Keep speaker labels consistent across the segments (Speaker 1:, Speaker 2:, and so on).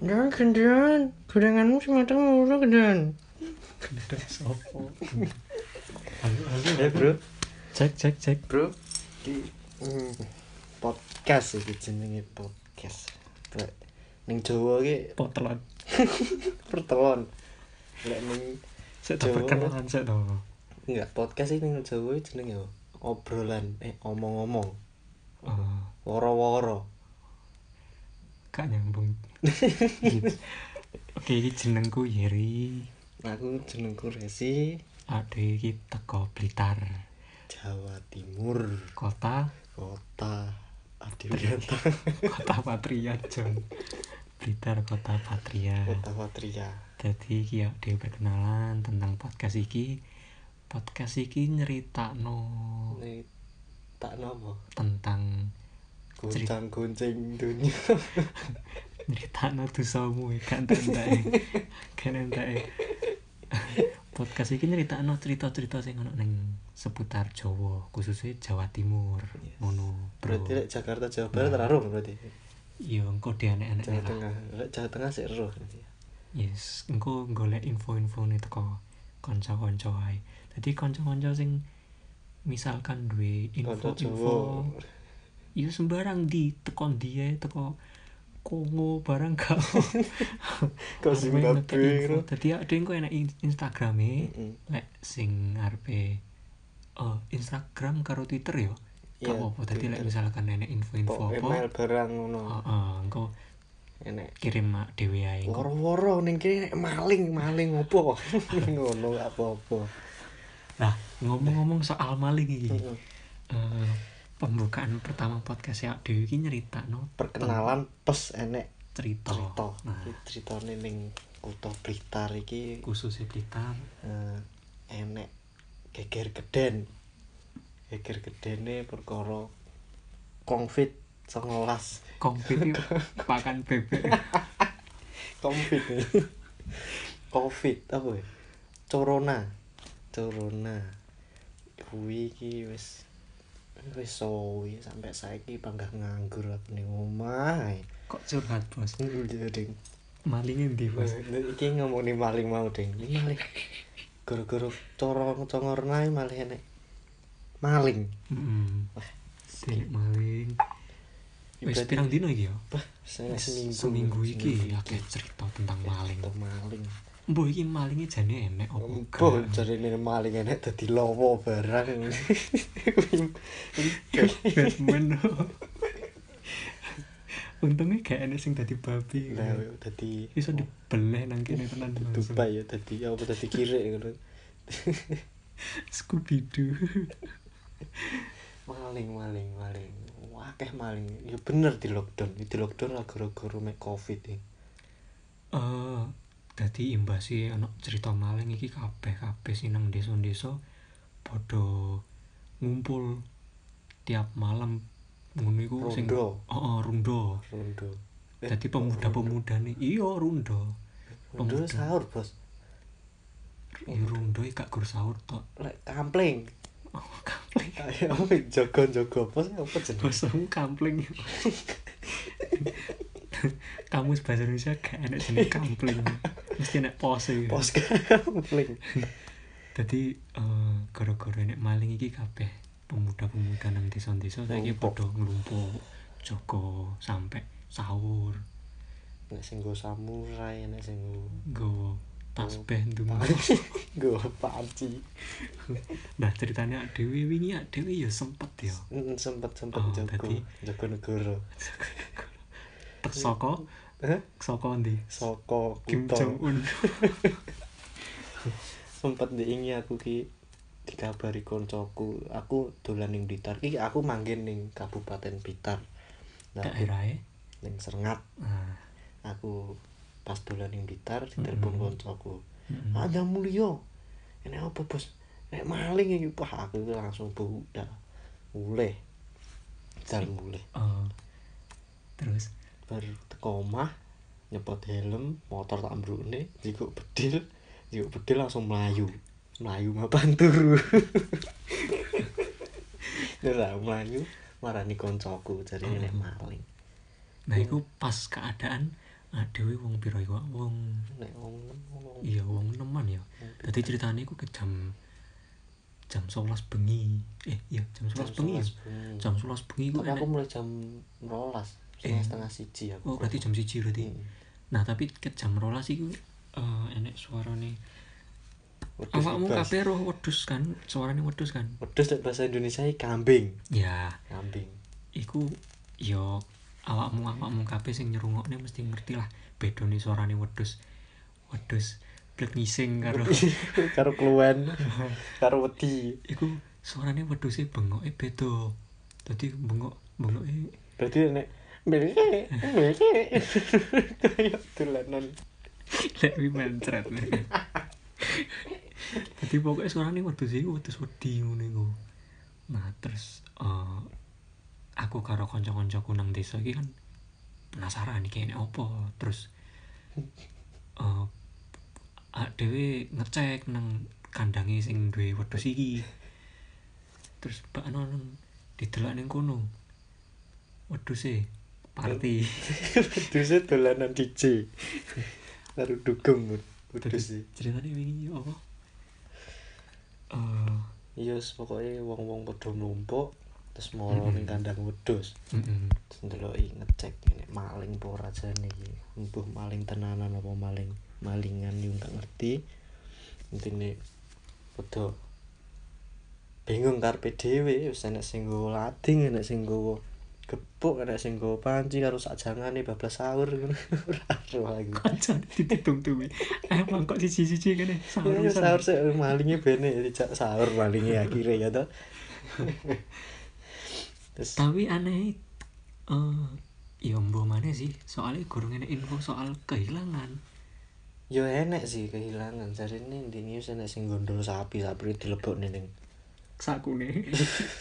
Speaker 1: Ya gendean, gorenganmu sematang mulu gendean.
Speaker 2: Gendeng sopo.
Speaker 3: Eh bro,
Speaker 2: Cek cek cek.
Speaker 3: bro, di mm, podcast iki jenenge podcast. Lek ning Jawa iki
Speaker 2: Pok telon.
Speaker 3: pertolon. Lek ning
Speaker 2: Saya tak
Speaker 3: Jawa.
Speaker 2: perkenalan saya dong.
Speaker 3: enggak podcast iki ning Jawa iki jenenge apa? obrolan eh omong-omong,
Speaker 2: Oh,
Speaker 3: woro-woro.
Speaker 2: gak nyambung. Gitu. Oke, ini jenengku Yeri.
Speaker 3: Aku jenengku Resi
Speaker 2: Ade iki teko Blitar.
Speaker 3: Jawa Timur,
Speaker 2: Kota
Speaker 3: kota Adiwiyata,
Speaker 2: Kota Patria, John. Blitar Kota Patria.
Speaker 3: kota Patria.
Speaker 2: Jadi iki ya dia perkenalan tentang podcast iki. Podcast iki nyeritakno
Speaker 3: Nek tak nopo,
Speaker 2: tentang
Speaker 3: goncang-gonceng dunia.
Speaker 2: nyeritakno dosamu kan entek. Kan entek. Podcast iki nyeritakno cerita-cerita sing ono ning seputar Jawa, khususnya Jawa Timur.
Speaker 3: Yes.
Speaker 2: Ngono. bro.
Speaker 3: Berarti lek Jakarta Jawa Barat terarung berarti.
Speaker 2: Iya, engko dianek-anek
Speaker 3: Jawa
Speaker 2: lah.
Speaker 3: Tengah, lek Jawa Tengah sik ero.
Speaker 2: Yes, engko golek info-info nih teko kanca-kanca ae. Dadi kanca-kanca sing misalkan duwe
Speaker 3: Kanca
Speaker 2: info-info
Speaker 3: Jawa.
Speaker 2: iya sembarang di teko dia teko Kongo barang gak
Speaker 3: Kok Zimbabwe ngono.
Speaker 2: Dadi ada yang kok enak Instagrame
Speaker 3: Mm-mm.
Speaker 2: lek sing arepe eh Instagram karo Twitter yo.
Speaker 3: Iya,
Speaker 2: Gak apa-apa dadi lek
Speaker 3: Twitter.
Speaker 2: misalkan enek info-info
Speaker 3: Pok email
Speaker 2: apa. Ah.
Speaker 3: barang ngono.
Speaker 2: Heeh, engko
Speaker 3: Enek
Speaker 2: kirim mak dhewe ae. engko
Speaker 3: woro-woro ning kene maling, maling opo? Ngono gak apa-apa.
Speaker 2: Nah, ngomong-ngomong soal maling iki.
Speaker 3: Mm-mm.
Speaker 2: eh, pembukaan pertama podcast ya Dewi iki nyeritakno
Speaker 3: Perkenalan pes enek
Speaker 2: cerita.
Speaker 3: cerita.
Speaker 2: Nah,
Speaker 3: Iki Ceritane ning kutha Blitar iki
Speaker 2: khususnya Blitar.
Speaker 3: eh, enek geger geden. Geger gedene perkara Covid 19.
Speaker 2: Komplit iki pakan bebek.
Speaker 3: COVID COVID apa ya? Corona. Corona. Kuwi iki wis wis suwi sampai saiki panggah nganggur aku ning omah. ae.
Speaker 2: Kok curhat, Bos?
Speaker 3: Iya, Ding.
Speaker 2: Malingnya ndi, Bos?
Speaker 3: Nah, Iki ngomongin maling mau, Ding. Ini maling. Gara-gara corong congorna iki malah enek maling.
Speaker 2: Heeh.
Speaker 3: Wah,
Speaker 2: Delik maling. Wis
Speaker 3: Berarti-
Speaker 2: pirang dino iki ya?
Speaker 3: Bah, saya
Speaker 2: Wis
Speaker 3: seminggu.
Speaker 2: Seminggu iki akeh cerita tentang maling.
Speaker 3: Itu maling.
Speaker 2: Mbok iki malingnya jane emek opo
Speaker 3: Mbok
Speaker 2: enggak?
Speaker 3: jarine maling enek dadi lowo barang.
Speaker 2: Batman. Untungnya gak enek sing dadi babi.
Speaker 3: Nah, dadi
Speaker 2: Bisa dibeleh nang kene tenan langsung.
Speaker 3: Dubai ya dadi apa dadi kirik ngono.
Speaker 2: Scooby Doo.
Speaker 3: Maling maling maling. Wakeh maling. Ya bener di lockdown. Di lockdown lah gara-gara mek covid e. iki.
Speaker 2: Eh, dadi imbasi ana cerita maling iki kabeh-kabeh sing nang desa-desa padha ngumpul tiap malam ngono iku sing
Speaker 3: Rondo.
Speaker 2: Heeh, rundo.
Speaker 3: Rondo. Eh,
Speaker 2: Dadi pemuda-pemudane iya rundo.
Speaker 3: Rondo sahur, Bos.
Speaker 2: Iya rundo iki gak gur sahur tok.
Speaker 3: Lek kampling.
Speaker 2: Oh, kampling.
Speaker 3: Kayak apa jaga-jaga bos apa jenenge?
Speaker 2: Bahasamu kampling. Kamu bahasa Indonesia gak enak jeneng kampling. Mesti enak pose.
Speaker 3: Pos kampling.
Speaker 2: Jadi eh gara-gara nek maling iki kabeh pemuda-pemuda nang desa-desa saiki
Speaker 3: Nglumpuk.
Speaker 2: padha nglumpuk jaga sampe sahur,
Speaker 3: Nek sing nggo samurai, nek sing nggo
Speaker 2: nggawa tasbih ndonga.
Speaker 3: nggo panci.
Speaker 2: Nah, ceritanya dhewe wingi dhewe ya sempet ya.
Speaker 3: Mm, sempet sempet
Speaker 2: Oh,
Speaker 3: jaga
Speaker 2: dadi-
Speaker 3: jaga negara. Eh,
Speaker 2: Tek saka
Speaker 3: Hah?
Speaker 2: saka ndi?
Speaker 3: Soko
Speaker 2: Kim
Speaker 3: kutho.
Speaker 2: Jong Un.
Speaker 3: sempet diingi aku ki dikabari koncoku aku dolan ning Blitar ki aku manggen ning Kabupaten Blitar nah aku
Speaker 2: Daerahe.
Speaker 3: ning Serengat
Speaker 2: Nah,
Speaker 3: aku pas dolan ning Blitar ditelepon
Speaker 2: Mm-mm.
Speaker 3: koncoku "Ah,
Speaker 2: Mm-mm.
Speaker 3: ada mulio ini apa bos nek maling iki wah aku itu langsung budak mulai dan mulai
Speaker 2: eh, terus
Speaker 3: bar teko omah nyepot helm motor tak mbrukne jikuk bedil jikuk bedil langsung melayu melayu mapan turu Nera
Speaker 2: Hmm.
Speaker 3: melayu marani koncoku jadi nek maling
Speaker 2: nah iku pas keadaan ah dewi wong piro iku ah? wong
Speaker 3: nek wong wong
Speaker 2: iya wong neman ya dadi ceritanya iku ke jam jam 11 bengi eh iya jam 11 bengi ya? jam 11 bengi iku
Speaker 3: Tapi aku
Speaker 2: enek
Speaker 3: mulai jam 12,
Speaker 2: Eh.
Speaker 3: setengah siji aku.
Speaker 2: oh berarti jam 1 berarti
Speaker 3: Hmm.
Speaker 2: nah tapi ke jam 12 iku eh enek suarane
Speaker 3: Wedhus
Speaker 2: awakmu
Speaker 3: bebas.
Speaker 2: kabeh roh wedhus kan suarane wedhus kan
Speaker 3: Wedhus nek bahasa Indonesia iki kambing.
Speaker 2: ya
Speaker 3: Kambing.
Speaker 2: iku yo awakmu awakmu kabeh sing nyerungokne mesti ngerti lah bedone suarane wedhus wedhus blek ngising karo
Speaker 3: karo keluwen, karo wedi.
Speaker 2: iku suarane wedhuse bengoke beda dadi bengok bengoke
Speaker 3: Berarti nek Mele, mele, kayak tulanan.
Speaker 2: lek wi mencret dadi pokoknya suarane wedhus iku wedhus wedi ngono iku nah terus eh, aku karo kanca-kancaku nang desa iki kan penasaran iki enek opo terus eh awak dhewe ngecek nang kandange sing duwe wedhus iki terus bakno nang didelok ning kono wedhuse party
Speaker 3: Wedhusnya tulanan DJ. Karo dugem wedhus sih.
Speaker 2: ceritanya wingi apa Eh,
Speaker 3: Iya, pokoknya wong-wong padha numpuk terus moro ning kandang wedhus.
Speaker 2: mm-mm.
Speaker 3: ndeloki ngecek ini maling apa ora jane iki mbuh maling tenanan apa maling malingan yo gak ngerti intine padha bingung karepe dhewe wis enek sing nggowo lading enek sing nggowo gepuk enek sing nggowo panci karo sakjangane bablas sahur ngono ora ero aku
Speaker 2: kancane dititung tuwi eh mangkok siji-siji kene sahur
Speaker 3: Iya,
Speaker 2: pisan.
Speaker 3: sahur sih malingnya bene dijak sahur malingnya akhirnya ya toh terus
Speaker 2: tapi aneh eh ya mbuh maneh sih soalnya gurung ngene info soal kehilangan
Speaker 3: Yo enek sih kehilangan. Jadi ini di news enek sing gondol sapi, sapi dilebok ning
Speaker 2: sakune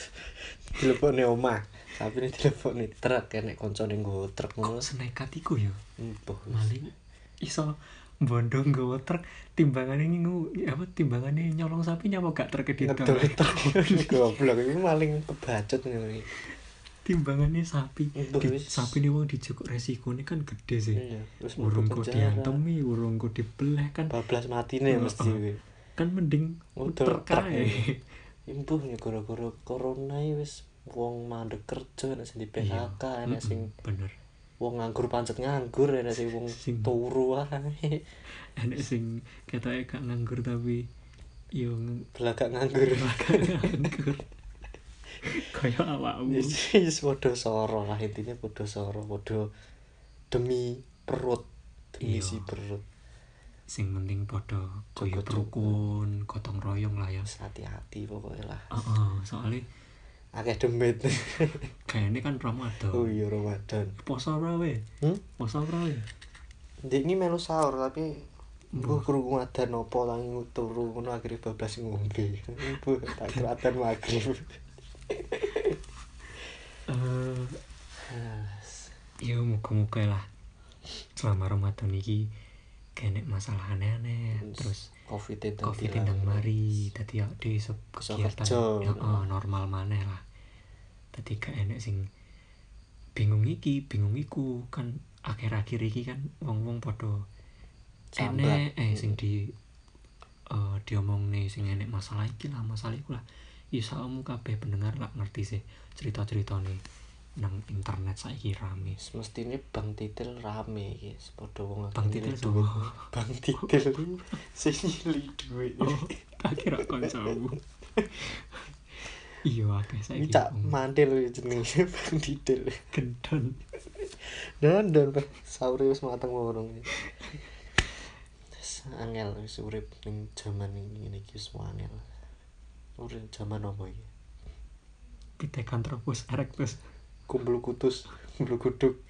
Speaker 3: dilebok ning omah. Sapi ini dilebok ning truk, enek konco ning nggo truk ngono.
Speaker 2: kok senekat iku ya
Speaker 3: Empuh.
Speaker 2: maling iso bondong nggawa truk timbangannya ngingu apa timbangannya nyolong sapi nyamuk gak truk ke
Speaker 3: Ngedol truk goblok iki maling kebacut ngono iki.
Speaker 2: timbangannya sapi
Speaker 3: Untuk
Speaker 2: Di-
Speaker 3: wis.
Speaker 2: sapi ini wong dijukuk resikonya kan gede sih
Speaker 3: Iya, terus mlebu
Speaker 2: urung kok
Speaker 3: penjara.
Speaker 2: diantemi urung kok dibeleh kan
Speaker 3: Bablas matine
Speaker 2: Heeh.
Speaker 3: mesti kuwi.
Speaker 2: kan mending
Speaker 3: Ngedol truk.
Speaker 2: muter
Speaker 3: ya. Iya.
Speaker 2: kae Iya.
Speaker 3: Empuh ya gara-gara corona iki wis wong mandek kerja enek sing di PHK, enek
Speaker 2: Mm-mm,
Speaker 3: sing
Speaker 2: bener
Speaker 3: wong nganggur pancet nganggur, enek sing wong
Speaker 2: Sing-
Speaker 3: turu wae.
Speaker 2: enek sing ketoke gak nganggur tapi yo ng-
Speaker 3: Belagak nganggur.
Speaker 2: gak nganggur kaya awakmu
Speaker 3: Yes, yes, podo soro lah intinya podo soro podo demi perut demi
Speaker 2: Iya.
Speaker 3: si perut
Speaker 2: sing penting padha kaya
Speaker 3: Jaga jaga.
Speaker 2: rukun gotong royong lah ya
Speaker 3: Terus hati-hati pokoknya lah
Speaker 2: heeh soalnya
Speaker 3: akeh demit
Speaker 2: kayaknya kan Ramadan
Speaker 3: oh iya Ramadan
Speaker 2: poso ora we
Speaker 3: hmm?
Speaker 2: poso ora we
Speaker 3: dia ini melu sahur tapi
Speaker 2: Hmm.
Speaker 3: gue kerungu adan opo tangi turu ngono akhirnya bablas ngombe gue tak kira adan maghrib
Speaker 2: Eh, ya muka-muka lah selama Ramadan iki kene masalah aneh-aneh terus
Speaker 3: covid e itu
Speaker 2: covid e tendang mari tadi ya di sep-
Speaker 3: Iso
Speaker 2: kegiatan
Speaker 3: kerja.
Speaker 2: ya, oh, normal maneh lah tadi gak enek sing bingung iki bingung iku kan akhir-akhir iki kan wong-wong podo enek eh sing di eh diomong nih sing enek masalah iki lah masalah iku lah ya kamu kabeh pendengar lah ngerti sih cerita-cerita nih nang internet saiki rame
Speaker 3: semestinya bang titil rame guys podo wong
Speaker 2: Bang
Speaker 3: akeh
Speaker 2: Titil
Speaker 3: nyilih
Speaker 2: dowo.
Speaker 3: duit. bang titil sing nyili duit
Speaker 2: oh tak kira kancamu iya akeh saiki
Speaker 3: Cak
Speaker 2: wong
Speaker 3: mantil jenenge Bang Didil.
Speaker 2: gendon
Speaker 3: Dandan Pak. Sahure wis mateng ngorong. Wis Angel wis urip ning jaman ini ngene iki wis angel. Urip jaman apa iki?
Speaker 2: Pithecanthropus erectus
Speaker 3: Kumbul kutus, kumbul kuduk.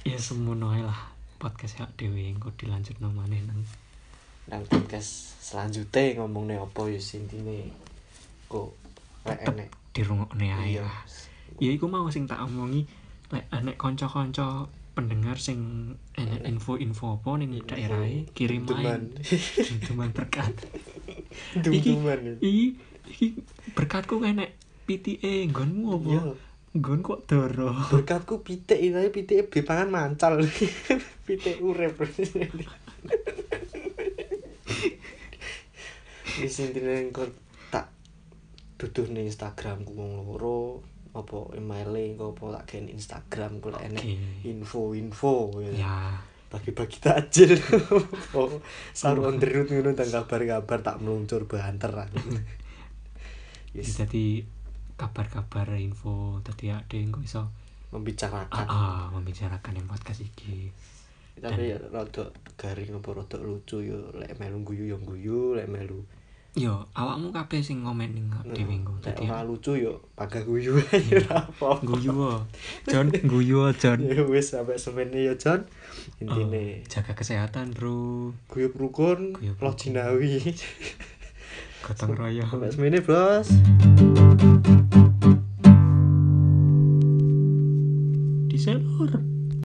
Speaker 2: ya semono ae lah podcast hak dhewe engko dilanjutno maneh nang
Speaker 3: Nang podcast selanjutnya ngomongne apa ya sih intine. Kok lek
Speaker 2: Tetep.
Speaker 3: enek.
Speaker 2: dirungokne ae
Speaker 3: Iya.
Speaker 2: lah ya iku mau sing tak omongi lek enek kanca-kanca pendengar sing enek info-info apa ning daerahe e, kirim
Speaker 3: Dentuman.
Speaker 2: main dentuman berkat iki
Speaker 3: Dum-duman.
Speaker 2: iki, iki berkatku enek PTA nggonmu apa
Speaker 3: Iya.
Speaker 2: Gon kok doro.
Speaker 3: berkatku pitik ini tapi pitik be pangan mancal pitik urep wis intine engko tak duduh ning Instagramku wong loro apa email engko apa tak gen Instagram ku lek enek
Speaker 2: Oke.
Speaker 3: info-info gitu.
Speaker 2: Ya,
Speaker 3: bagi-bagi takjil oh, saruan derut ngono tang kabar-kabar tak meluncur banter yes
Speaker 2: jadi kabar-kabar info tadi ada yang kok iso ah,
Speaker 3: membicarakan
Speaker 2: ah, membicarakan yang podcast iki.
Speaker 3: tapi ya rada garing apa rada lucu yo lek melu guyu yo guyu lek melu eh,
Speaker 2: Yo, awakmu kabeh sing komen ning dhewe engko.
Speaker 3: lek
Speaker 2: Dadi
Speaker 3: ora lucu yo pagah guyu ae ora apa
Speaker 2: guyu wo. Jon guyu wo, Jon.
Speaker 3: ya wis sampe semene yo Jon intine
Speaker 2: Jaga kesehatan, Bro.
Speaker 3: guyub rukun
Speaker 2: Guyub
Speaker 3: loh
Speaker 2: rukun.
Speaker 3: jinawi
Speaker 2: Gotong royong.
Speaker 3: sampe semene bros
Speaker 2: Di selor.